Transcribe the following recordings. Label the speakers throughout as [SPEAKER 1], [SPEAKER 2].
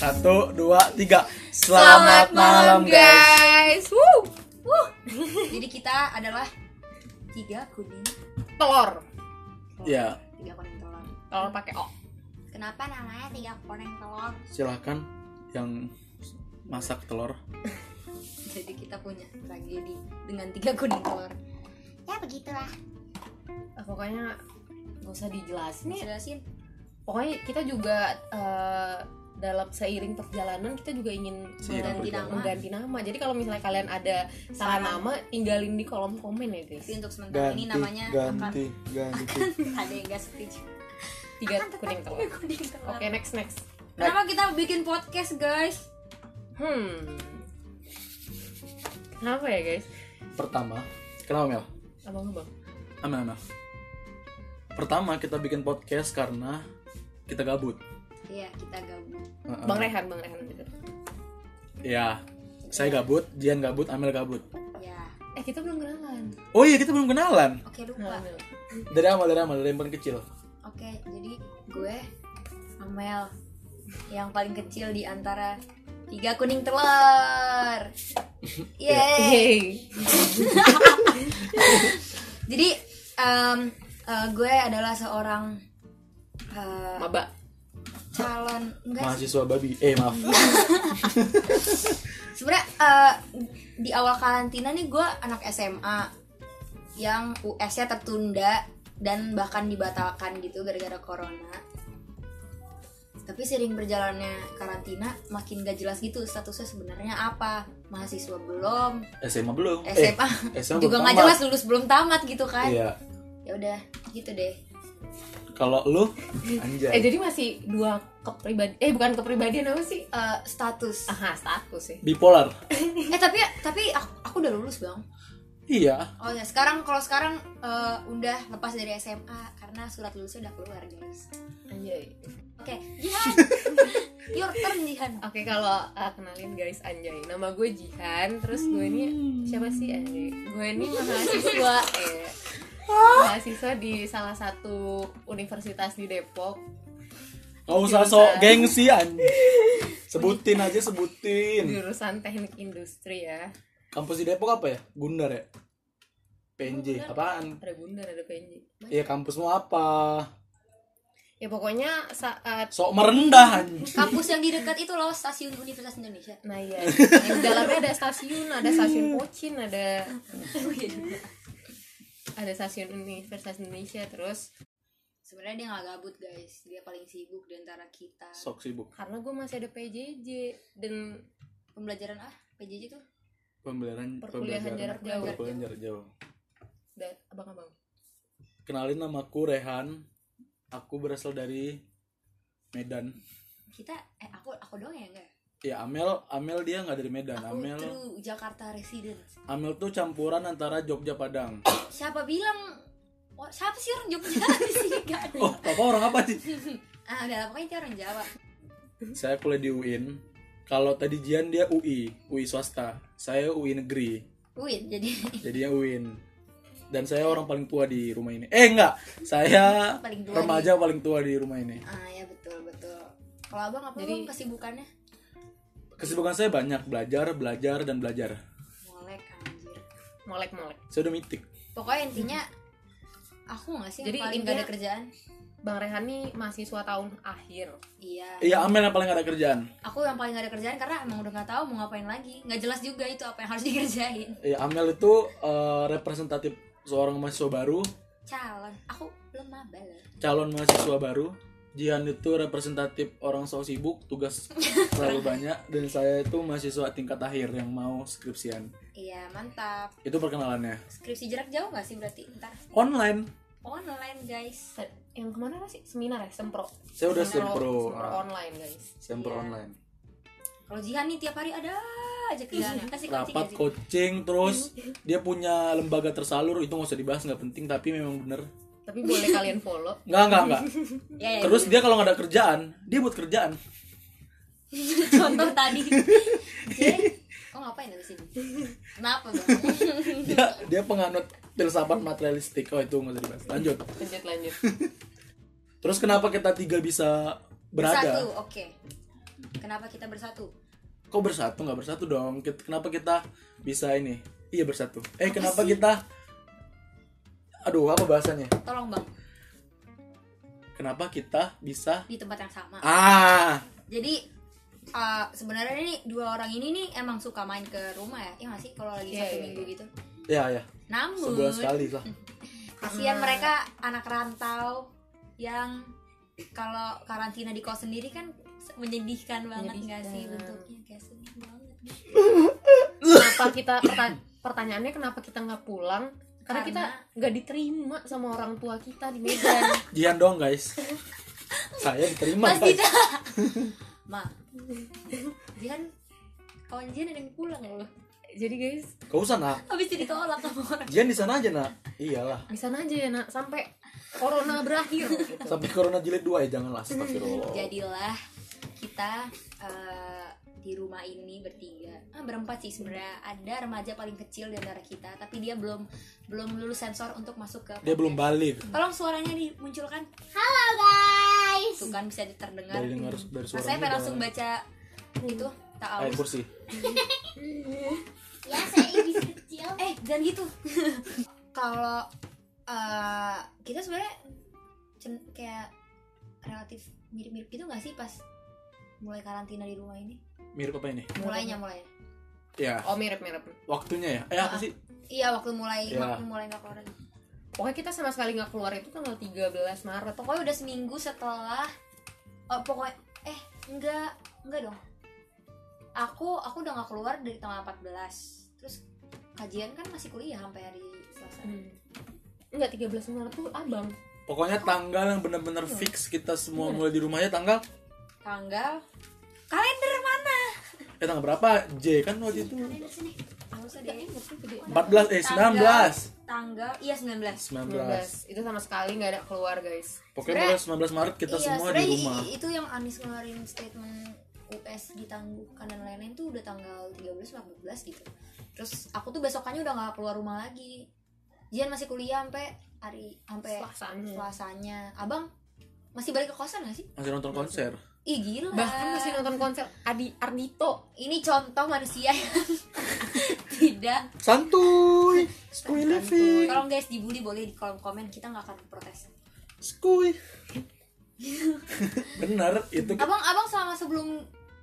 [SPEAKER 1] Satu, dua, tiga. Selamat,
[SPEAKER 2] Selamat,
[SPEAKER 1] malam guys.
[SPEAKER 2] guys. Wuh, wuh.
[SPEAKER 3] Jadi kita adalah tiga kuning
[SPEAKER 2] Telur.
[SPEAKER 1] Ya,
[SPEAKER 3] tiga kuning telur.
[SPEAKER 2] Telur pakai O.
[SPEAKER 3] Kenapa namanya tiga kuning telur?
[SPEAKER 1] silahkan yang masak telur.
[SPEAKER 3] Jadi kita punya tragedi dengan tiga kuning telur. Ya begitulah.
[SPEAKER 2] Eh, Pokoknya gak usah dijelasin ya.
[SPEAKER 3] Jelasin.
[SPEAKER 2] Pokoknya kita juga eh, dalam seiring perjalanan kita juga ingin
[SPEAKER 1] Seiring
[SPEAKER 3] Mengganti
[SPEAKER 1] perjalanan.
[SPEAKER 3] nama.
[SPEAKER 2] mengganti nama. Jadi kalau misalnya kalian ada salah nama, tinggalin di kolom komen ya guys.
[SPEAKER 3] Tapi untuk sementara
[SPEAKER 1] Ganti,
[SPEAKER 3] ini namanya
[SPEAKER 1] ganti, ganti.
[SPEAKER 3] akan ada yang gak setuju.
[SPEAKER 2] Tiga
[SPEAKER 3] Akan tetap
[SPEAKER 2] kuning
[SPEAKER 3] tiga
[SPEAKER 2] telur.
[SPEAKER 3] kuning telur.
[SPEAKER 2] Oke next next.
[SPEAKER 3] Kenapa kita bikin podcast guys?
[SPEAKER 2] Hmm. Kenapa ya guys?
[SPEAKER 1] Pertama, kenapa Mel?
[SPEAKER 2] Abang abang.
[SPEAKER 1] Amel, Amel. Pertama kita bikin podcast karena kita gabut.
[SPEAKER 3] Iya kita gabung.
[SPEAKER 1] Heeh.
[SPEAKER 2] Bang Rehan, Bang Rehan.
[SPEAKER 1] Ya, saya gabut, Jian gabut, Amel gabut.
[SPEAKER 3] Ya.
[SPEAKER 2] Eh kita belum kenalan.
[SPEAKER 1] Oh iya, kita belum kenalan.
[SPEAKER 3] Oke lupa.
[SPEAKER 2] Kenalan.
[SPEAKER 1] Dari Amel, dari Amel, dari yang paling kecil.
[SPEAKER 3] Oke jadi gue Amel yang paling kecil di antara tiga kuning telur.
[SPEAKER 2] Eh.
[SPEAKER 3] Yeay.
[SPEAKER 2] Hey.
[SPEAKER 3] Jadi em, eh, gue adalah seorang eh,
[SPEAKER 2] Maba.
[SPEAKER 3] calon enggak sih.
[SPEAKER 1] Mahasiswa babi. Eh, maaf.
[SPEAKER 3] Sebenarnya eh, di awal karantina nih gue anak SMA yang US-nya tertunda dan bahkan dibatalkan gitu gara-gara corona. Tapi sering berjalannya karantina makin gak jelas gitu statusnya sebenarnya apa. Mahasiswa belum,
[SPEAKER 1] SMA belum. Eh,
[SPEAKER 3] SMA
[SPEAKER 1] SMA belum
[SPEAKER 3] juga nggak
[SPEAKER 1] tamat.
[SPEAKER 3] jelas lulus belum tamat gitu kan.
[SPEAKER 1] Iya.
[SPEAKER 3] Ya udah gitu deh.
[SPEAKER 1] Kalau lu
[SPEAKER 2] Eh
[SPEAKER 1] anjay.
[SPEAKER 2] jadi masih dua kepribadian eh bukan kepribadian apa sih?
[SPEAKER 3] Eh, status
[SPEAKER 2] Aha, status sih.
[SPEAKER 1] Bipolar.
[SPEAKER 3] Eh tapi tapi aku, aku udah lulus bang.
[SPEAKER 1] Iya.
[SPEAKER 3] Oh ya sekarang kalau sekarang eh, udah lepas dari SMA karena surat lulusnya udah keluar guys.
[SPEAKER 2] Anjay.
[SPEAKER 3] Oke Jihan, your turn Jihan.
[SPEAKER 2] Oke, kalau uh, kenalin guys Anjay. Nama gue Jihan, terus gue ini siapa sih eh? Anjay? Gue ini mahasiswa eh mahasiswa di salah satu universitas di Depok.
[SPEAKER 1] Gak usah
[SPEAKER 2] Jurusan.
[SPEAKER 1] sok gengsi anjay. Sebutin aja sebutin.
[SPEAKER 2] jurusan teknik industri ya
[SPEAKER 1] Kampus di Depok apa ya? Gundar ya? PNJ apaan?
[SPEAKER 2] ada bundar ada penji
[SPEAKER 1] Iya kampus mau apa?
[SPEAKER 2] ya pokoknya eh, saat
[SPEAKER 1] Sok merendah anjay.
[SPEAKER 3] Kampus yang di dekat itu loh stasiun Universitas Indonesia.
[SPEAKER 2] nah ya yang di dalamnya ada stasiun ada stasiun Pocin ada ada stasiun Universitas Indonesia terus
[SPEAKER 3] Sebenarnya dia nggak gabut guys, dia paling sibuk di antara kita.
[SPEAKER 1] Sok sibuk
[SPEAKER 2] karena gue masih ada PJJ dan
[SPEAKER 3] Pembelajaran ah PJJ tuh
[SPEAKER 1] pembelajaran
[SPEAKER 2] Perkuliahan
[SPEAKER 1] pembelajaran-
[SPEAKER 2] jarak jauh.
[SPEAKER 1] Perkuliahan jarak jauh.
[SPEAKER 2] da- abang-abang
[SPEAKER 1] Kenalin namaku Rehan. Aku berasal dari Medan.
[SPEAKER 3] kita eh aku aku doang ya enggak?
[SPEAKER 1] Ya Amel, Amel dia nggak dari Medan.
[SPEAKER 3] Aku
[SPEAKER 1] Amel,
[SPEAKER 3] true Jakarta resident.
[SPEAKER 1] Amel tuh campuran antara Jogja Padang.
[SPEAKER 3] Siapa bilang? Wah, siapa sih orang Jogja di sini gak
[SPEAKER 2] Iya.
[SPEAKER 3] ada.
[SPEAKER 1] Oh, papa orang apa sih?
[SPEAKER 3] Ah, udah lah, pokoknya dia orang Jawa.
[SPEAKER 1] Saya kuliah di UIN. Kalau tadi Jian dia UI, UI swasta. Saya UI negeri.
[SPEAKER 3] Win jadi
[SPEAKER 1] Jadinya UIN. Dan saya orang paling tua di rumah ini. Eh enggak, saya
[SPEAKER 3] Paling tua
[SPEAKER 1] remaja paling tua di rumah ini.
[SPEAKER 3] Ah ya betul betul. Kalau abang apa
[SPEAKER 2] Jadi-
[SPEAKER 3] Jadi, kesibukannya?
[SPEAKER 1] Kesibukan saya banyak belajar, belajar dan belajar.
[SPEAKER 3] Molek anjir.
[SPEAKER 2] molek molek
[SPEAKER 1] Saya udah mitik.
[SPEAKER 3] Pokoknya intinya aku gak sih
[SPEAKER 2] Jadi
[SPEAKER 3] yang paling gak
[SPEAKER 2] intinya-
[SPEAKER 3] ada kerjaan?
[SPEAKER 2] Bang Rehan nih mahasiswa tahun akhir
[SPEAKER 3] Iya.
[SPEAKER 1] Iya, Amel yang paling gak ada kerjaan.
[SPEAKER 3] Aku yang paling gak ada kerjaan karena emang udah gak tahu mau ngapain lagi. Gak jelas juga itu apa yang harus dikerjain.
[SPEAKER 1] Iya, Amel itu eh, representatif seorang mahasiswa baru,
[SPEAKER 3] Calon. Aku belum maba loh.
[SPEAKER 1] calon mahasiswa baru. Jihan itu representatif orang so sibuk, tugas terlalu banyak dan saya itu mahasiswa tingkat akhir yang mau skripsian.
[SPEAKER 3] Iya mantap.
[SPEAKER 1] Itu perkenalannya.
[SPEAKER 3] Skripsi jarak jauh gak sih berarti ntar Oh,
[SPEAKER 1] Online.
[SPEAKER 3] online guys.
[SPEAKER 2] Se- yang kemana sih seminar ya sempro
[SPEAKER 1] Saya udah sempro.
[SPEAKER 2] sempro
[SPEAKER 1] Ah,
[SPEAKER 2] online guys
[SPEAKER 1] Sempro
[SPEAKER 3] Iya.
[SPEAKER 1] online.
[SPEAKER 3] Kalau Jihan nih tiap hari ada aja kerjaan. Kasih kunci
[SPEAKER 1] Iya. Rapat coaching terus dia punya lembaga tersalur itu nggak usah dibahas nggak penting tapi memang bener.
[SPEAKER 2] tapi boleh kalian follow
[SPEAKER 1] Nggak nggak nggak.
[SPEAKER 3] Ya, ya,
[SPEAKER 1] Terus dia kalau nggak ada kerjaan dia buat kerjaan.
[SPEAKER 3] contoh tadi. J, kau ngapain di sini? Kenapa bang?
[SPEAKER 1] Dia dia penganut filsafat materialistik. Oh itu nggak usah dibahas. Lanjut.
[SPEAKER 2] lanjut lanjut
[SPEAKER 1] Terus kenapa kita tiga bisa berada?
[SPEAKER 3] Satu, oke. Kenapa kita bersatu?
[SPEAKER 1] Kok bersatu nggak bersatu dong? Kit- Kenapa kita bisa ini? Iya bersatu. Eh kenapa kita? Aduh apa bahasanya?
[SPEAKER 3] Tolong bang,
[SPEAKER 1] Kenapa kita bisa?
[SPEAKER 3] di tempat yang sama.
[SPEAKER 1] Ah,
[SPEAKER 3] Jadi eh, sebenarnya ini dua orang ini nih emang suka main ke rumah ya, ya nggak sih kalau lagi
[SPEAKER 2] Iya,
[SPEAKER 3] satu
[SPEAKER 2] iya,
[SPEAKER 3] minggu gitu.
[SPEAKER 1] ya ya.
[SPEAKER 3] Namun
[SPEAKER 1] Sebulan sekali lah.
[SPEAKER 3] kasihan
[SPEAKER 2] Karena-
[SPEAKER 3] mereka anak rantau yang kalau karantina di kos sendiri kan se- menyedihkan banget nggak sih
[SPEAKER 2] Menyedihkan.
[SPEAKER 3] bentuknya kayak sedih banget.
[SPEAKER 2] kenapa kita perta- pertanyaannya kenapa kita nggak pulang karena,
[SPEAKER 3] Karena-
[SPEAKER 2] kita nggak diterima sama orang tua kita di Medan
[SPEAKER 1] Jihan dong guys. Saya diterima
[SPEAKER 3] Mas
[SPEAKER 1] guys.
[SPEAKER 3] Dita, ma, Jihan, kawan Jihan ada yang pulang loh.
[SPEAKER 2] jadi guys
[SPEAKER 1] Kau usah nak.
[SPEAKER 3] Habis jadi tolak sama orang.
[SPEAKER 1] Jihan di sana aja nak. Iyalah.
[SPEAKER 2] di sana aja ya nak sampai corona berakhir gitu.
[SPEAKER 1] Sampai corona jilid 2 ya janganlah astagfirullah.
[SPEAKER 3] Jadilah kita eh, di rumah ini bertiga, ah, berempat sih sebenarnya. Ada remaja paling kecil di antara kita, tapi dia belum belum lulus sensor untuk masuk ke.
[SPEAKER 1] Dia belum balik.
[SPEAKER 3] Tolong suaranya dimunculkan.
[SPEAKER 4] Halo guys.
[SPEAKER 3] Tuh kan bisa terdengar.
[SPEAKER 1] Dari dengar dari suara.
[SPEAKER 3] Rasanya pengen
[SPEAKER 1] dia.
[SPEAKER 3] langsung baca itu
[SPEAKER 1] Ayat
[SPEAKER 3] tahu.
[SPEAKER 1] kursi.
[SPEAKER 4] Ya saya ibis kecil.
[SPEAKER 3] Eh, jangan gitu. Kalau eh, kita sebenarnya cen- kayak relatif mirip-mirip gitu gak sih pas mulai karantina di rumah ini?
[SPEAKER 1] Mirip apa ini?
[SPEAKER 3] Mulainya mulainya.
[SPEAKER 1] Ya,
[SPEAKER 2] oh mirip mirip
[SPEAKER 1] waktunya ya. Eh apa sih?
[SPEAKER 3] Iya waktu mulai
[SPEAKER 1] Iya.
[SPEAKER 3] waktu mulai nggak keluar. lagi.
[SPEAKER 2] pokoknya kita sama sekali nggak keluar itu tanggal 13 Maret
[SPEAKER 3] Pokoknya udah seminggu setelah oh, pokoknya eh enggak enggak dong. Aku aku udah nggak keluar dari tanggal 14. Terus kajian kan masih kuliah sampai hari Selasa.
[SPEAKER 2] Hmm. Enggak 13 Maret tuh abang
[SPEAKER 1] Pokoknya tanggal yang benar-benar
[SPEAKER 3] Iya.
[SPEAKER 1] fix kita semua mulai di rumahnya tanggal
[SPEAKER 3] Tanggal kalender mana?
[SPEAKER 1] eh tanggal berapa? J kan waktu itu
[SPEAKER 4] Kalender sini.
[SPEAKER 3] Nggak usah
[SPEAKER 2] Iya.
[SPEAKER 3] deh.
[SPEAKER 1] 14 eh 19.
[SPEAKER 3] Tanggal iya 19.
[SPEAKER 1] 19.
[SPEAKER 2] 19 itu sama sekali nggak ada keluar guys
[SPEAKER 1] Pokoknya mulai 19 Maret kita
[SPEAKER 3] iya,
[SPEAKER 1] semua di
[SPEAKER 3] sebenarnya i-
[SPEAKER 1] rumah.
[SPEAKER 3] i- itu yang Anis ngeluarin statement US ditangguhkan dan lain-lain tuh udah tanggal 13 14 gitu. Terus aku tuh besokannya udah nggak keluar rumah lagi. Jian masih kuliah sampai hari sampai
[SPEAKER 2] Selasanya
[SPEAKER 3] Selasanya. Abang masih balik ke kosan gak sih?
[SPEAKER 1] Masih nonton konser.
[SPEAKER 3] Ih gila.
[SPEAKER 2] bahkan masih nonton konser Adi Ardito
[SPEAKER 3] Ini contoh manusia yang tidak
[SPEAKER 1] Santuy. Skuy living.
[SPEAKER 3] Tolong guys dibully boleh di kolom komen kita nggak akan protes.
[SPEAKER 1] Skuy. Bener itu
[SPEAKER 3] Abang abang selama sebelum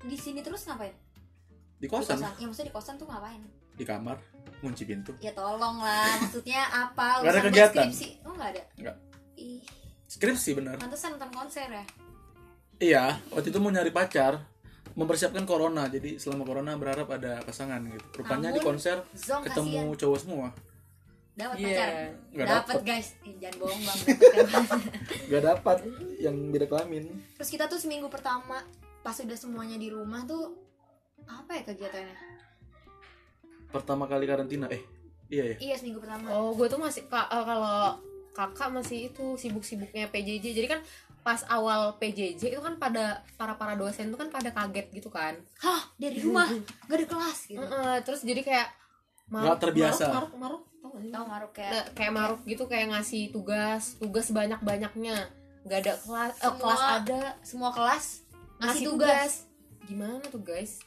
[SPEAKER 3] di sini terus ngapain?
[SPEAKER 1] di
[SPEAKER 3] Di
[SPEAKER 1] kosan,
[SPEAKER 3] Ya maksudnya di kosan tuh ngapain?
[SPEAKER 1] di kamar, kunci pintu.
[SPEAKER 3] Ya tolong lah, maksudnya apa?
[SPEAKER 1] Nggak ada
[SPEAKER 3] Urusan
[SPEAKER 1] kegiatan?
[SPEAKER 3] Skripsi? Oh nggak ada.
[SPEAKER 1] Nggak.
[SPEAKER 3] Ih,
[SPEAKER 1] Skripsi bener.
[SPEAKER 3] pantesan nonton konser ya.
[SPEAKER 1] Iya, waktu itu mau nyari pacar, mempersiapkan corona. Jadi selama corona berharap ada pasangan gitu. Rupanya di
[SPEAKER 3] Namun,
[SPEAKER 1] konser
[SPEAKER 3] Zong kasihan,
[SPEAKER 1] ketemu cowok semua.
[SPEAKER 3] dapat pacar.
[SPEAKER 2] Iya
[SPEAKER 1] Nggak
[SPEAKER 3] dapat
[SPEAKER 1] dapat.
[SPEAKER 3] guys, Ih, jangan bohong bang. dapet.
[SPEAKER 1] Gak dapat yang beda kelamin.
[SPEAKER 3] Terus kita tuh seminggu pertama pas udah semuanya di rumah tuh apa ya kegiatannya?
[SPEAKER 1] Pertama kali karantina eh iya ya.
[SPEAKER 3] Iya seminggu pertama.
[SPEAKER 2] oh gue tuh masih ka- eh, kalau kakak masih itu sibuk-sibuknya PJJ jadi kan pas awal PJJ itu kan pada para para dosen tuh kan pada kaget gitu kan
[SPEAKER 3] Hah dari rumah nggak ada kelas gitu.
[SPEAKER 2] Heeh, terus jadi kayak
[SPEAKER 1] Nggak terbiasa.
[SPEAKER 2] maruk maruk, tau nggak sih?
[SPEAKER 3] Tahu ngaruh kayak
[SPEAKER 2] Nah, kayak maruk gitu kayak ngasih tugas tugas banyak banyaknya nggak ada kelas eh,
[SPEAKER 3] Semua
[SPEAKER 2] kelas ada
[SPEAKER 3] semua kelas ngasih
[SPEAKER 2] ngasih
[SPEAKER 3] tugas.
[SPEAKER 2] gimana tuh guys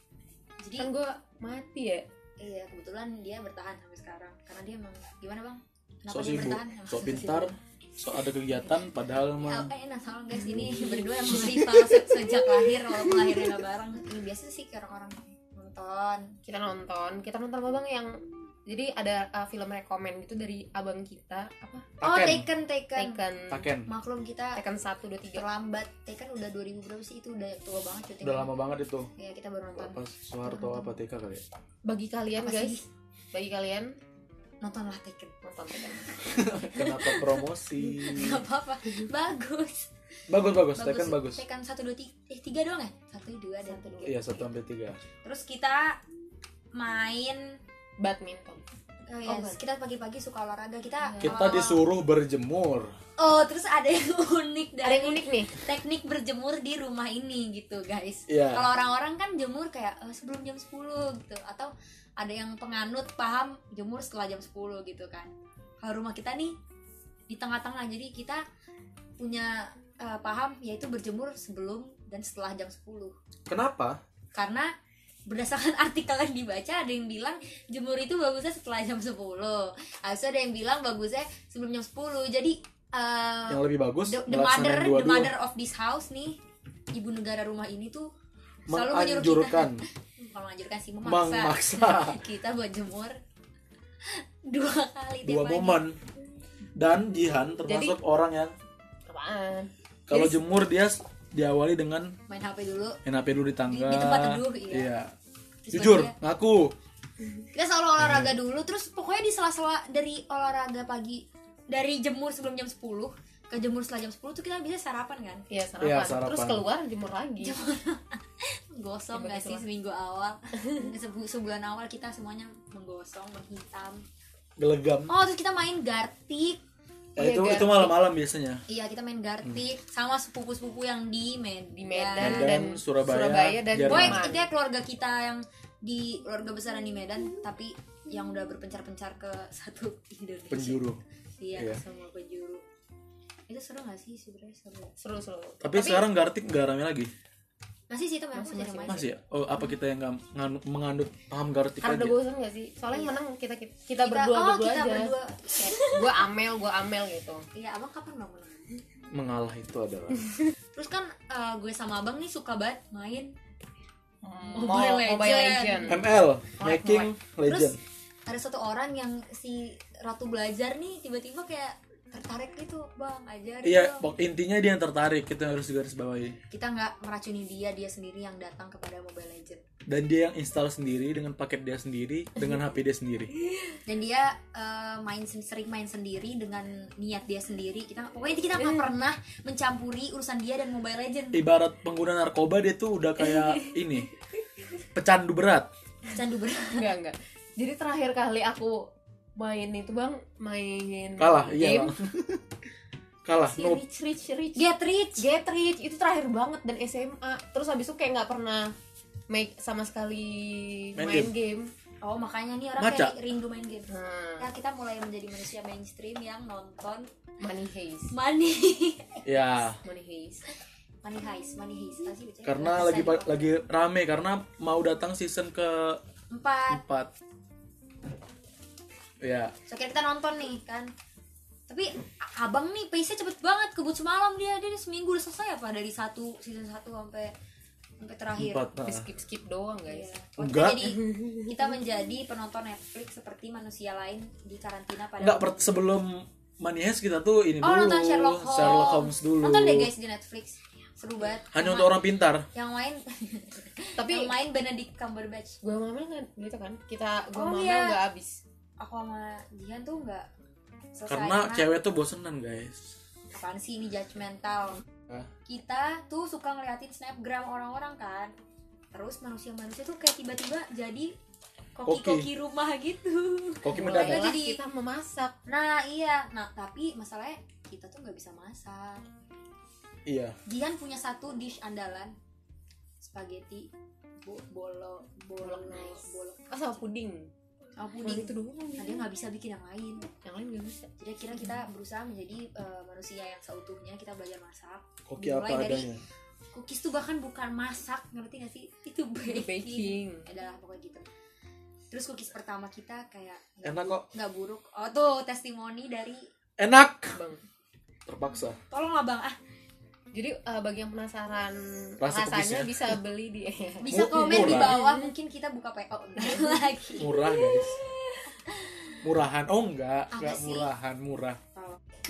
[SPEAKER 3] Jadi
[SPEAKER 2] kan gue mati ya
[SPEAKER 3] iya kebetulan dia bertahan sampai sekarang karena dia emang gimana bang? Kenapa
[SPEAKER 1] Sok
[SPEAKER 3] dia
[SPEAKER 1] sibuk,
[SPEAKER 3] bertahan?
[SPEAKER 1] sok pintar, sok ada kegiatan padahal
[SPEAKER 3] Ya,
[SPEAKER 1] mah
[SPEAKER 3] eh, nah tolong guys ini berdua yang rival se- sejak lahir walaupun lahirnya nggak bareng ini biasa sih kayak orang-orang nonton
[SPEAKER 2] kita nonton kita nonton apa bang yang jadi ada uh, film rekomend gitu dari abang kita apa
[SPEAKER 3] oh
[SPEAKER 1] Taken.
[SPEAKER 3] Taken Taken,
[SPEAKER 2] Taken
[SPEAKER 1] Taken.
[SPEAKER 3] maklum kita
[SPEAKER 2] Taken satu dua tiga
[SPEAKER 3] terlambat Taken udah 2000 berapa sih itu udah tua banget cuy
[SPEAKER 1] Udah lama banget itu.
[SPEAKER 3] ya kita baru nonton
[SPEAKER 1] Apa Soeharto apa TK kali ya?
[SPEAKER 2] bagi kalian
[SPEAKER 3] Apa
[SPEAKER 2] guys
[SPEAKER 3] sih?
[SPEAKER 2] bagi kalian
[SPEAKER 3] nontonlah Taken
[SPEAKER 2] nonton Taken
[SPEAKER 1] Kenapa promosi?
[SPEAKER 3] nggak apa-apa bagus
[SPEAKER 1] bagus bagus, Taken bagus.
[SPEAKER 3] Taken satu dua tiga eh tiga doang ya satu dua dan tiga
[SPEAKER 1] Iya, satu sampai tiga.
[SPEAKER 3] terus kita main
[SPEAKER 2] badminton
[SPEAKER 3] oh, iya,
[SPEAKER 2] bukan.
[SPEAKER 3] kita pagi-pagi suka olahraga kita
[SPEAKER 1] Kita
[SPEAKER 3] awal-awal-
[SPEAKER 1] disuruh berjemur.
[SPEAKER 3] oh terus ada yang unik dari
[SPEAKER 2] ada yang unik nih
[SPEAKER 3] teknik berjemur di rumah ini gitu guys
[SPEAKER 1] Iya.
[SPEAKER 3] kalau orang-orang kan jemur kayak "Eh, sebelum jam 10 gitu atau ada yang penganut paham jemur setelah jam 10 gitu kan kalau rumah kita nih di tengah-tengah jadi kita punya eh, paham yaitu berjemur sebelum dan setelah jam 10
[SPEAKER 5] Kenapa?
[SPEAKER 3] karena berdasarkan artikel yang dibaca ada yang bilang jemur itu bagusnya setelah jam 10 Habis itu ada yang bilang bagusnya sebelum jam 10 jadi eh,
[SPEAKER 5] Yang lebih bagus
[SPEAKER 3] the, the mother
[SPEAKER 5] melaksanakan
[SPEAKER 3] the
[SPEAKER 5] dua-dua
[SPEAKER 3] mother of this house nih ibu negara rumah ini tuh selalu menyuruh kita
[SPEAKER 5] menganjurkan
[SPEAKER 3] bukan menganjurkan sih memaksa,
[SPEAKER 5] memaksa
[SPEAKER 3] kita buat jemur dua kali tiap
[SPEAKER 1] dua
[SPEAKER 3] pagi.
[SPEAKER 1] momen dan Jihan termasuk orang yang
[SPEAKER 2] Apaan?
[SPEAKER 1] kalau
[SPEAKER 3] Jadi-
[SPEAKER 1] jemur dia s- diawali dengan
[SPEAKER 3] main HP dulu
[SPEAKER 1] main HP dulu di tangga
[SPEAKER 3] Di- di tempat teduh, iya. Terus
[SPEAKER 1] jujur
[SPEAKER 3] baru
[SPEAKER 1] ngaku
[SPEAKER 3] kita selalu olahraga dulu terus pokoknya di sela-sela dari olahraga pagi dari jemur sebelum jam 10 ke jemur setelah jam 10 tuh kita bisa sarapan kan
[SPEAKER 2] Iya sarapan.
[SPEAKER 1] Iya, sarapan.
[SPEAKER 2] Terus keluar jemur lagi.
[SPEAKER 3] gosong
[SPEAKER 2] Tiba-tiba
[SPEAKER 3] gak sih
[SPEAKER 2] keluar.
[SPEAKER 3] seminggu awal Sebu- sebulan awal kita semuanya menggosong menghitam
[SPEAKER 1] gelegam
[SPEAKER 3] oh terus kita main gartik
[SPEAKER 1] Ya,
[SPEAKER 2] Iya,
[SPEAKER 1] itu
[SPEAKER 2] Gar.
[SPEAKER 1] itu malam-malam biasanya
[SPEAKER 3] iya kita main gartik sama sepupu-sepupu yang di Medan
[SPEAKER 2] Di Medan,
[SPEAKER 1] Medan,
[SPEAKER 2] dan
[SPEAKER 1] Surabaya,
[SPEAKER 2] dan
[SPEAKER 1] Jerman.
[SPEAKER 3] Boy,
[SPEAKER 2] Jerman.
[SPEAKER 1] Jerman.
[SPEAKER 3] intinya keluarga kita yang di keluarga besaran di Medan tapi yang udah berpencar-pencar ke satu Indonesia
[SPEAKER 1] penjuru
[SPEAKER 3] iya
[SPEAKER 1] Iya.
[SPEAKER 3] ke semua penjuru itu seru gak sih sebenarnya seru
[SPEAKER 2] seru seru.
[SPEAKER 1] tapi, sekarang Gartik nggak rame lagi
[SPEAKER 3] masih sih itu masih
[SPEAKER 2] Masih,
[SPEAKER 3] masih,
[SPEAKER 2] masih,
[SPEAKER 1] masih ya oh apa kita yang nggak menganut, menganut paham Gartik
[SPEAKER 2] karena
[SPEAKER 1] aja
[SPEAKER 2] udah bosan gak sih? Soalnya yang menang kita kita, kita
[SPEAKER 3] Iya. Kita-
[SPEAKER 2] berdua
[SPEAKER 3] oh,
[SPEAKER 2] berdua
[SPEAKER 3] kita
[SPEAKER 2] aja.
[SPEAKER 3] berdua Kayak,
[SPEAKER 2] Gua amel, gua amel gitu.
[SPEAKER 3] iya abang kapan mau menang
[SPEAKER 1] mengalah itu adalah
[SPEAKER 3] terus kan eh, gue sama abang nih suka banget main Mobile
[SPEAKER 2] Mobile, Mobile
[SPEAKER 3] Legend.
[SPEAKER 2] Legend.
[SPEAKER 1] ML making legend
[SPEAKER 3] terus ada satu orang yang si ratu belajar nih tiba-tiba kayak tertarik gitu bang ajarin
[SPEAKER 1] iya
[SPEAKER 3] dong."
[SPEAKER 1] pok- intinya dia yang tertarik itu yang harus digaris bawahi
[SPEAKER 3] kita nggak meracuni dia dia sendiri yang datang kepada Mobile Legend
[SPEAKER 1] dan dia yang install sendiri dengan paket dia sendiri dengan HP dia sendiri
[SPEAKER 3] dan dia eh, main sen- sering main sendiri dengan niat dia sendiri kita pokoknya kita nggak
[SPEAKER 1] Eh.
[SPEAKER 3] pernah mencampuri urusan dia dan Mobile Legend
[SPEAKER 1] ibarat pengguna narkoba dia tuh udah kayak ini pecandu berat
[SPEAKER 3] candu berat
[SPEAKER 2] Enggak, enggak. Jadi terakhir kali aku main itu bang main
[SPEAKER 1] kalah iya
[SPEAKER 2] game
[SPEAKER 1] Bang. kalah
[SPEAKER 2] si
[SPEAKER 1] noob
[SPEAKER 2] rich rich rich
[SPEAKER 3] get rich
[SPEAKER 2] get rich itu terakhir banget dan SMA terus habis itu kayak nggak pernah make sama sekali
[SPEAKER 1] Main
[SPEAKER 2] main,
[SPEAKER 1] game.
[SPEAKER 2] game,
[SPEAKER 3] oh makanya nih orang
[SPEAKER 1] Maca.
[SPEAKER 3] kayak rindu main game
[SPEAKER 2] Nah,
[SPEAKER 3] Nah, kita mulai menjadi manusia mainstream yang nonton
[SPEAKER 2] money heist
[SPEAKER 3] money
[SPEAKER 1] ya
[SPEAKER 2] money heist
[SPEAKER 3] money heist money heist Apa sih bacanya?
[SPEAKER 1] karena
[SPEAKER 3] Berapa
[SPEAKER 1] lagi
[SPEAKER 3] persen?
[SPEAKER 1] pa- lagi rame karena mau datang season ke
[SPEAKER 3] empat
[SPEAKER 1] empat ya
[SPEAKER 3] so akhirnya kita nonton nih kan tapi a- abang nih pace nya cepet banget kebut semalam dia dia seminggu udah selesai apa dari satu season satu sampai sampai terakhir
[SPEAKER 1] empat
[SPEAKER 2] Di
[SPEAKER 1] nah.
[SPEAKER 2] skip skip doang guys
[SPEAKER 3] Iya. Oh,
[SPEAKER 1] Enggak.
[SPEAKER 3] Kita, jadi, kita menjadi penonton Netflix seperti manusia lain di karantina pada
[SPEAKER 1] nggak per- sebelum Money Heist kita tuh ini
[SPEAKER 3] Oh
[SPEAKER 1] dulu
[SPEAKER 3] nonton Sherlock Holmes.
[SPEAKER 1] Sherlock Holmes dulu
[SPEAKER 3] Nonton deh guys di Netflix. Seru banget.
[SPEAKER 1] hanya
[SPEAKER 3] Yang
[SPEAKER 1] untuk
[SPEAKER 3] ma-
[SPEAKER 1] orang pintar
[SPEAKER 3] yang main
[SPEAKER 2] tapi
[SPEAKER 3] yang main Benedict Cumberbatch.
[SPEAKER 2] gua mamel kan gitu kan kita gua
[SPEAKER 3] Oh,
[SPEAKER 2] mamel
[SPEAKER 3] iya.
[SPEAKER 2] nggak habis
[SPEAKER 3] Aku sama Jihan tuh nggak selesai
[SPEAKER 1] karena cewek tuh bosenan guys
[SPEAKER 3] apaan sih ini judgmental.
[SPEAKER 1] Hah?
[SPEAKER 3] Kita tuh suka ngeliatin snapgram orang-orang kan. Terus manusia-manusia tuh kayak tiba-tiba jadi koki-koki rumah gitu.
[SPEAKER 1] koki
[SPEAKER 2] Mulailah
[SPEAKER 1] mendadak
[SPEAKER 3] Jadi-
[SPEAKER 2] kita memasak
[SPEAKER 3] Nah, iya. Nah, tapi masalahnya kita tuh nggak bisa masak.
[SPEAKER 1] iya
[SPEAKER 3] Jihan punya satu dish andalan spaghetti bo- bolo bolo
[SPEAKER 2] Bolognese. gitu.
[SPEAKER 3] bolo
[SPEAKER 2] oh, sama puding
[SPEAKER 3] sama
[SPEAKER 2] Cuma
[SPEAKER 3] puding
[SPEAKER 2] itu doang
[SPEAKER 3] nah, dia nggak bisa bikin yang lain
[SPEAKER 2] yang lain nggak bisa
[SPEAKER 3] jadi akhirnya kita berusaha menjadi eh, manusia yang seutuhnya kita belajar masak
[SPEAKER 1] koki
[SPEAKER 3] Dimulai
[SPEAKER 1] apa
[SPEAKER 3] dari-
[SPEAKER 1] adanya
[SPEAKER 3] cookies tuh bahkan bukan masak ngerti gak sih itu baking,
[SPEAKER 2] baking
[SPEAKER 3] adalah pokoknya gitu terus cookies pertama kita kayak nggak
[SPEAKER 1] enak
[SPEAKER 3] bu-
[SPEAKER 1] kok
[SPEAKER 3] nggak buruk oh tuh testimoni dari
[SPEAKER 1] enak
[SPEAKER 2] bang
[SPEAKER 1] terpaksa
[SPEAKER 3] tolonglah bang ah
[SPEAKER 2] jadi eh, bagi yang penasaran
[SPEAKER 1] Rasa kubisnya.
[SPEAKER 2] rasanya bisa beli di
[SPEAKER 3] bisa
[SPEAKER 1] Mu-
[SPEAKER 3] komen
[SPEAKER 1] Oh,
[SPEAKER 3] di
[SPEAKER 1] murah.
[SPEAKER 3] bawah mungkin kita buka PO lagi
[SPEAKER 1] murah guys murahan oh enggak
[SPEAKER 3] Apa
[SPEAKER 1] enggak
[SPEAKER 3] sih?
[SPEAKER 1] murahan murah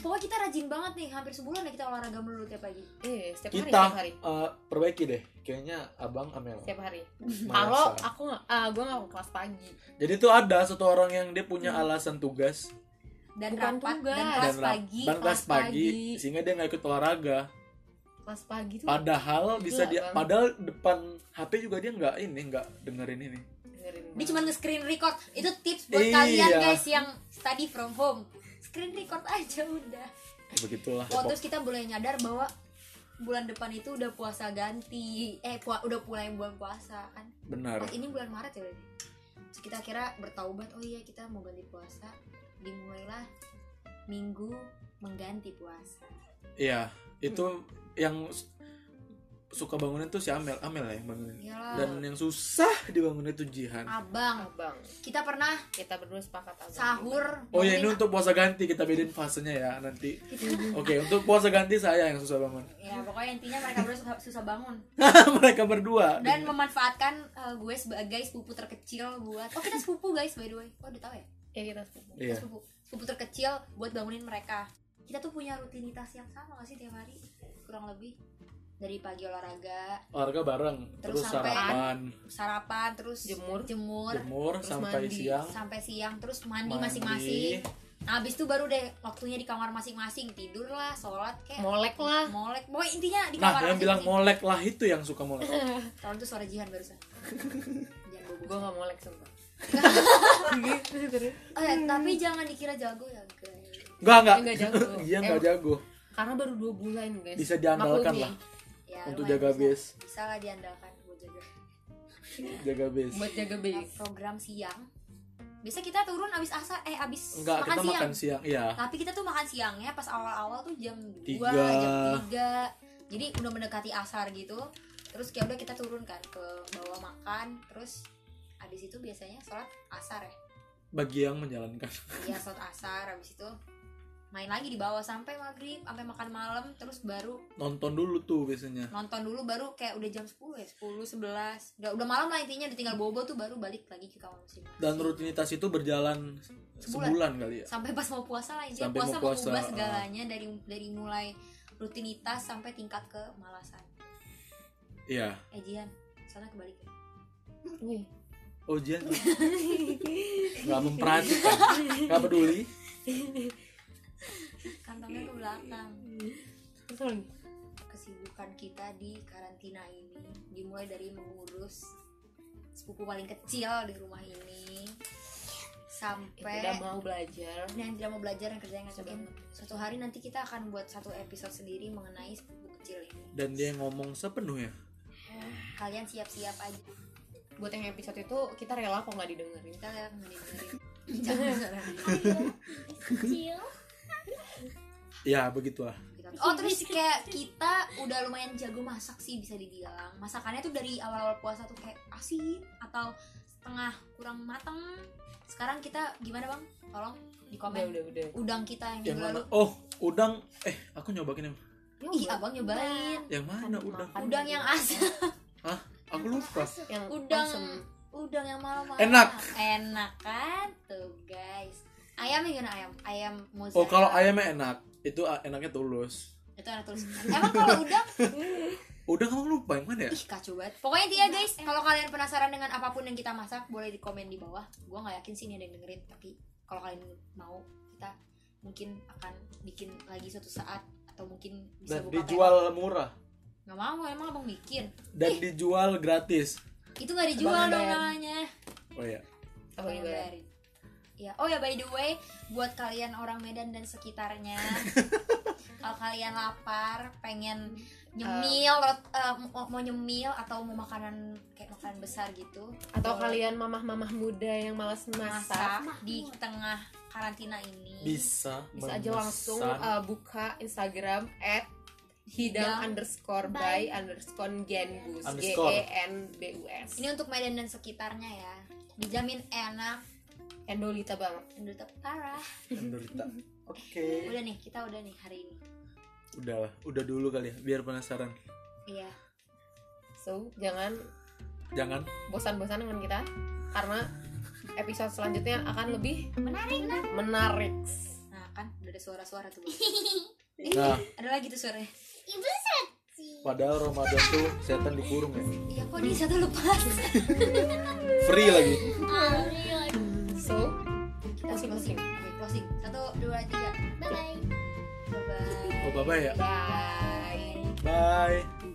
[SPEAKER 3] pokoknya kita rajin banget nih hampir sebulan ya kita olahraga melulu tiap pagi
[SPEAKER 2] eh setiap hari
[SPEAKER 1] kita
[SPEAKER 2] setiap hari
[SPEAKER 1] eh, perbaiki deh kayaknya abang Amel
[SPEAKER 2] setiap hari
[SPEAKER 1] merasa.
[SPEAKER 2] kalau aku nggak ah, gua nggak mau kelas pagi
[SPEAKER 1] jadi tuh ada satu orang yang dia punya
[SPEAKER 3] Hmm.
[SPEAKER 1] alasan tugas
[SPEAKER 3] dan
[SPEAKER 2] Bukan
[SPEAKER 3] rapat
[SPEAKER 2] tugas.
[SPEAKER 3] dan
[SPEAKER 1] dan
[SPEAKER 3] kelas
[SPEAKER 1] rap-
[SPEAKER 3] pagi
[SPEAKER 1] dan kelas
[SPEAKER 2] kelas
[SPEAKER 1] pagi,
[SPEAKER 2] pagi.
[SPEAKER 1] sehingga dia nggak ikut olahraga
[SPEAKER 2] kelas pagi tuh
[SPEAKER 1] padahal bisa
[SPEAKER 2] Gila,
[SPEAKER 1] dia
[SPEAKER 2] Bang.
[SPEAKER 1] padahal depan HP juga dia nggak ini nggak dengerin ini
[SPEAKER 2] dengerin
[SPEAKER 3] dia
[SPEAKER 2] banget.
[SPEAKER 3] cuma nge-screen record itu tips buat
[SPEAKER 1] Iya.
[SPEAKER 3] kalian guys yang study from home screen record aja udah
[SPEAKER 1] Ya, begitulah
[SPEAKER 3] oh, terus kita boleh nyadar bahwa bulan depan itu udah puasa ganti eh pua- udah mulai bulan puasa kan
[SPEAKER 1] benar
[SPEAKER 3] oh, ini bulan Maret ya berarti terus kita kira bertaubat oh iya kita mau ganti puasa dimulailah minggu mengganti puasa
[SPEAKER 1] iya itu yang s- suka bangunin tuh si Amel Amel lah yang bangunin
[SPEAKER 3] Iyalah.
[SPEAKER 1] dan yang susah dibangunin tuh Jihan
[SPEAKER 3] abang
[SPEAKER 2] abang
[SPEAKER 3] kita pernah
[SPEAKER 2] kita berdua sepakat abang
[SPEAKER 3] sahur
[SPEAKER 1] oh ya ini
[SPEAKER 3] bangunin-
[SPEAKER 1] untuk puasa ganti kita bedain fasenya ya nanti oke untuk puasa ganti saya yang susah bangun
[SPEAKER 3] ya pokoknya intinya mereka berdua susah, susah bangun
[SPEAKER 1] mereka berdua
[SPEAKER 3] dan memanfaatkan eh, gue sebagai sepupu terkecil buat oh kita sepupu guys by the way oh udah tahu ya
[SPEAKER 2] ya kita sepakat
[SPEAKER 3] Kita
[SPEAKER 1] iya
[SPEAKER 3] sepupu sepupu terkecil buat bangunin mereka kita tuh punya rutinitas yang sama gak sih tiap hari kurang lebih dari pagi olahraga
[SPEAKER 1] olahraga bareng
[SPEAKER 3] Terus
[SPEAKER 1] terus,
[SPEAKER 3] sampai-
[SPEAKER 1] sarapan
[SPEAKER 3] sarapan terus
[SPEAKER 2] Jemur.
[SPEAKER 3] jemur
[SPEAKER 1] jemur
[SPEAKER 2] terus
[SPEAKER 1] sampai
[SPEAKER 2] mandi.
[SPEAKER 1] siang
[SPEAKER 3] sampai siang terus mandi
[SPEAKER 1] Mandi.
[SPEAKER 3] masing-masing nah abis itu baru deh waktunya di kamar masing-masing tidur lah sholat kayak
[SPEAKER 2] molek lah
[SPEAKER 3] molek boy intinya di
[SPEAKER 1] nah
[SPEAKER 3] kamar
[SPEAKER 1] yang bilang
[SPEAKER 3] masing-masing.
[SPEAKER 1] molek lah itu yang suka molek
[SPEAKER 3] tahun itu suara jihan barusan jangan bobo
[SPEAKER 2] gue gak molek sumpah gitu terus
[SPEAKER 3] eh, tapi jangan dikira jago ya guys
[SPEAKER 1] Enggak, enggak.
[SPEAKER 2] Enggak Eh, jago.
[SPEAKER 1] Iya, enggak
[SPEAKER 2] Em-
[SPEAKER 1] jago.
[SPEAKER 2] karena baru dua bulan guys
[SPEAKER 1] Bisa diandalkan
[SPEAKER 2] Maklumi.
[SPEAKER 1] lah
[SPEAKER 3] ya,
[SPEAKER 1] untuk
[SPEAKER 3] lumayan
[SPEAKER 1] jaga
[SPEAKER 3] bisa.
[SPEAKER 1] base,
[SPEAKER 3] bisa lah diandalkan buat jaga
[SPEAKER 1] jaga base.
[SPEAKER 2] buat jaga
[SPEAKER 1] Iya.
[SPEAKER 3] Nah,
[SPEAKER 2] base
[SPEAKER 3] program siang biasa kita turun abis asa eh abis
[SPEAKER 1] Enggak,
[SPEAKER 3] makan
[SPEAKER 1] kita
[SPEAKER 3] siang
[SPEAKER 1] makan siang. Iya.
[SPEAKER 3] tapi kita tuh makan siangnya pas awal-awal tuh jam 2,
[SPEAKER 1] Tiga.
[SPEAKER 3] jam 3 jadi udah mendekati asar gitu terus kayak udah kita turun kan ke bawah makan terus abis itu biasanya sholat asar ya
[SPEAKER 1] Bagi yang menjalankan.
[SPEAKER 3] iya sholat asar abis itu main lagi di bawah sampai maghrib sampai makan malam terus baru
[SPEAKER 1] Nonton dulu tuh biasanya.
[SPEAKER 3] nonton dulu baru kayak udah jam 10 ya 10 11 udah udah malam lah intinya udah tinggal bobo tuh baru balik lagi ke kamar masing-masing
[SPEAKER 1] Dan rutinitas itu berjalan
[SPEAKER 3] Sebulan.
[SPEAKER 1] sebulan, kali ya.
[SPEAKER 3] sampai pas mau puasa lah intinya
[SPEAKER 1] Sampai
[SPEAKER 3] puasa
[SPEAKER 1] mau puasa,
[SPEAKER 3] mengubah
[SPEAKER 1] ah.
[SPEAKER 3] segalanya dari dari mulai rutinitas sampai tingkat ke malasan
[SPEAKER 1] Iya.
[SPEAKER 3] eh Jihan sana kebalik ya Iya.
[SPEAKER 2] Wih,
[SPEAKER 1] Oh, Jian. Enggak memperhatikan. Enggak peduli.
[SPEAKER 3] kantongnya ke belakang
[SPEAKER 2] terus apa lagi?
[SPEAKER 3] kesibukan kita di karantina ini dimulai dari mengurus sepupu paling kecil di rumah ini
[SPEAKER 2] Ya,
[SPEAKER 3] sampai
[SPEAKER 2] tidak mau belajar
[SPEAKER 3] yang tidak mau belajar yang kerjanya ngajakin
[SPEAKER 2] Sebentar.
[SPEAKER 3] suatu hari nanti kita akan buat satu episode sendiri mengenai sepupu kecil ini
[SPEAKER 1] Dan dia ngomong ya. sepenuhnya.
[SPEAKER 3] kalian siap-siap aja
[SPEAKER 2] buat yang episode itu kita rela kok nggak didengerin
[SPEAKER 3] kita lihat mendengarin Jangan.
[SPEAKER 4] Kecil.
[SPEAKER 1] Ya, begitulah.
[SPEAKER 3] Gitu. Oh terus kayak kita udah lumayan jago masak sih bisa dibilang Masakannya tuh dari awal-awal puasa tuh kayak asin atau setengah kurang mateng Sekarang kita gimana bang? Tolong di
[SPEAKER 2] udah
[SPEAKER 3] komen
[SPEAKER 2] udah udah
[SPEAKER 3] Udang kita
[SPEAKER 1] Yang
[SPEAKER 3] yang minggu
[SPEAKER 1] mana?
[SPEAKER 3] lalu
[SPEAKER 1] Oh, udang. Eh, aku nyobain yang
[SPEAKER 3] Ih abang nyobain
[SPEAKER 1] yang mana udang?
[SPEAKER 2] Makan gitu.
[SPEAKER 3] Udang yang asam
[SPEAKER 1] Aku lupa.
[SPEAKER 2] yang
[SPEAKER 3] Udang
[SPEAKER 2] asem.
[SPEAKER 3] Udang yang malam
[SPEAKER 1] Enak.
[SPEAKER 3] Enak kan tuh guys Ayam gimana ayam? Ayam mozzarella
[SPEAKER 1] Oh, kalau ayamnya enak. Itu ah, enaknya tulus.
[SPEAKER 3] Itu enak terus Emang kalau udang
[SPEAKER 1] Udah kamu lupa yang mana ya?
[SPEAKER 3] Ih kacau banget Pokoknya intinya guys Kalau kalian penasaran dengan apapun yang kita masak Boleh di komen di bawah Gue gak yakin sih ini ada yang dengerin Tapi kalau kalian mau Kita mungkin akan bikin lagi suatu saat Atau mungkin bisa
[SPEAKER 1] Dan
[SPEAKER 3] buka
[SPEAKER 1] dijual murah.
[SPEAKER 3] tenda. Gak mau emang abang bikin
[SPEAKER 1] dan dijual gratis.
[SPEAKER 3] Itu gak dijual
[SPEAKER 2] Abang
[SPEAKER 3] dong
[SPEAKER 2] yang
[SPEAKER 3] namanya
[SPEAKER 1] Oh ya,
[SPEAKER 2] apa gitu
[SPEAKER 3] Abang yang bayarin. Ya. Oh ya by the way Buat kalian orang Medan dan sekitarnya Kalau kalian lapar Pengen nyemil rot- eh, mau, mau nyemil Atau mau makanan Kayak makanan besar gitu
[SPEAKER 2] atau
[SPEAKER 3] boleh.
[SPEAKER 2] kalian mamah-mamah muda yang malas masak
[SPEAKER 3] masak di tengah karantina ini
[SPEAKER 1] bisa
[SPEAKER 2] bisa aja
[SPEAKER 1] memesan.
[SPEAKER 2] langsung uh, buka Instagram at hidang
[SPEAKER 3] Hidang
[SPEAKER 2] underscore by
[SPEAKER 4] by
[SPEAKER 2] underscore genbus g
[SPEAKER 1] Underscore.
[SPEAKER 2] e n b u s
[SPEAKER 3] ini untuk Medan dan sekitarnya ya dijamin enak
[SPEAKER 2] endolita banget
[SPEAKER 3] endut parah
[SPEAKER 1] menderita. Oke.
[SPEAKER 3] udah nih kita udah nih hari ini
[SPEAKER 1] Udah lah, udah dulu kali ya, biar penasaran.
[SPEAKER 3] iya
[SPEAKER 2] so jangan
[SPEAKER 1] Jangan
[SPEAKER 2] bosan-bosan dengan kita karena episode selanjutnya akan lebih
[SPEAKER 4] Menarik lah.
[SPEAKER 2] menarik
[SPEAKER 3] nah kan udah ada suara-suara tuh
[SPEAKER 1] Nah,
[SPEAKER 3] ada lagi tuh suaranya
[SPEAKER 4] Ibu seksi.
[SPEAKER 1] padahal Ramadan tuh setan dikurung ya.
[SPEAKER 3] iya kok di satu lepas
[SPEAKER 1] Free lagi.
[SPEAKER 4] Aurel.
[SPEAKER 2] so
[SPEAKER 3] kita
[SPEAKER 2] closing closing
[SPEAKER 3] Oke, closing satu dua tiga
[SPEAKER 4] Bye bye.
[SPEAKER 3] bye bye
[SPEAKER 1] Oh, bye-bye ya.
[SPEAKER 2] bye
[SPEAKER 1] Bye.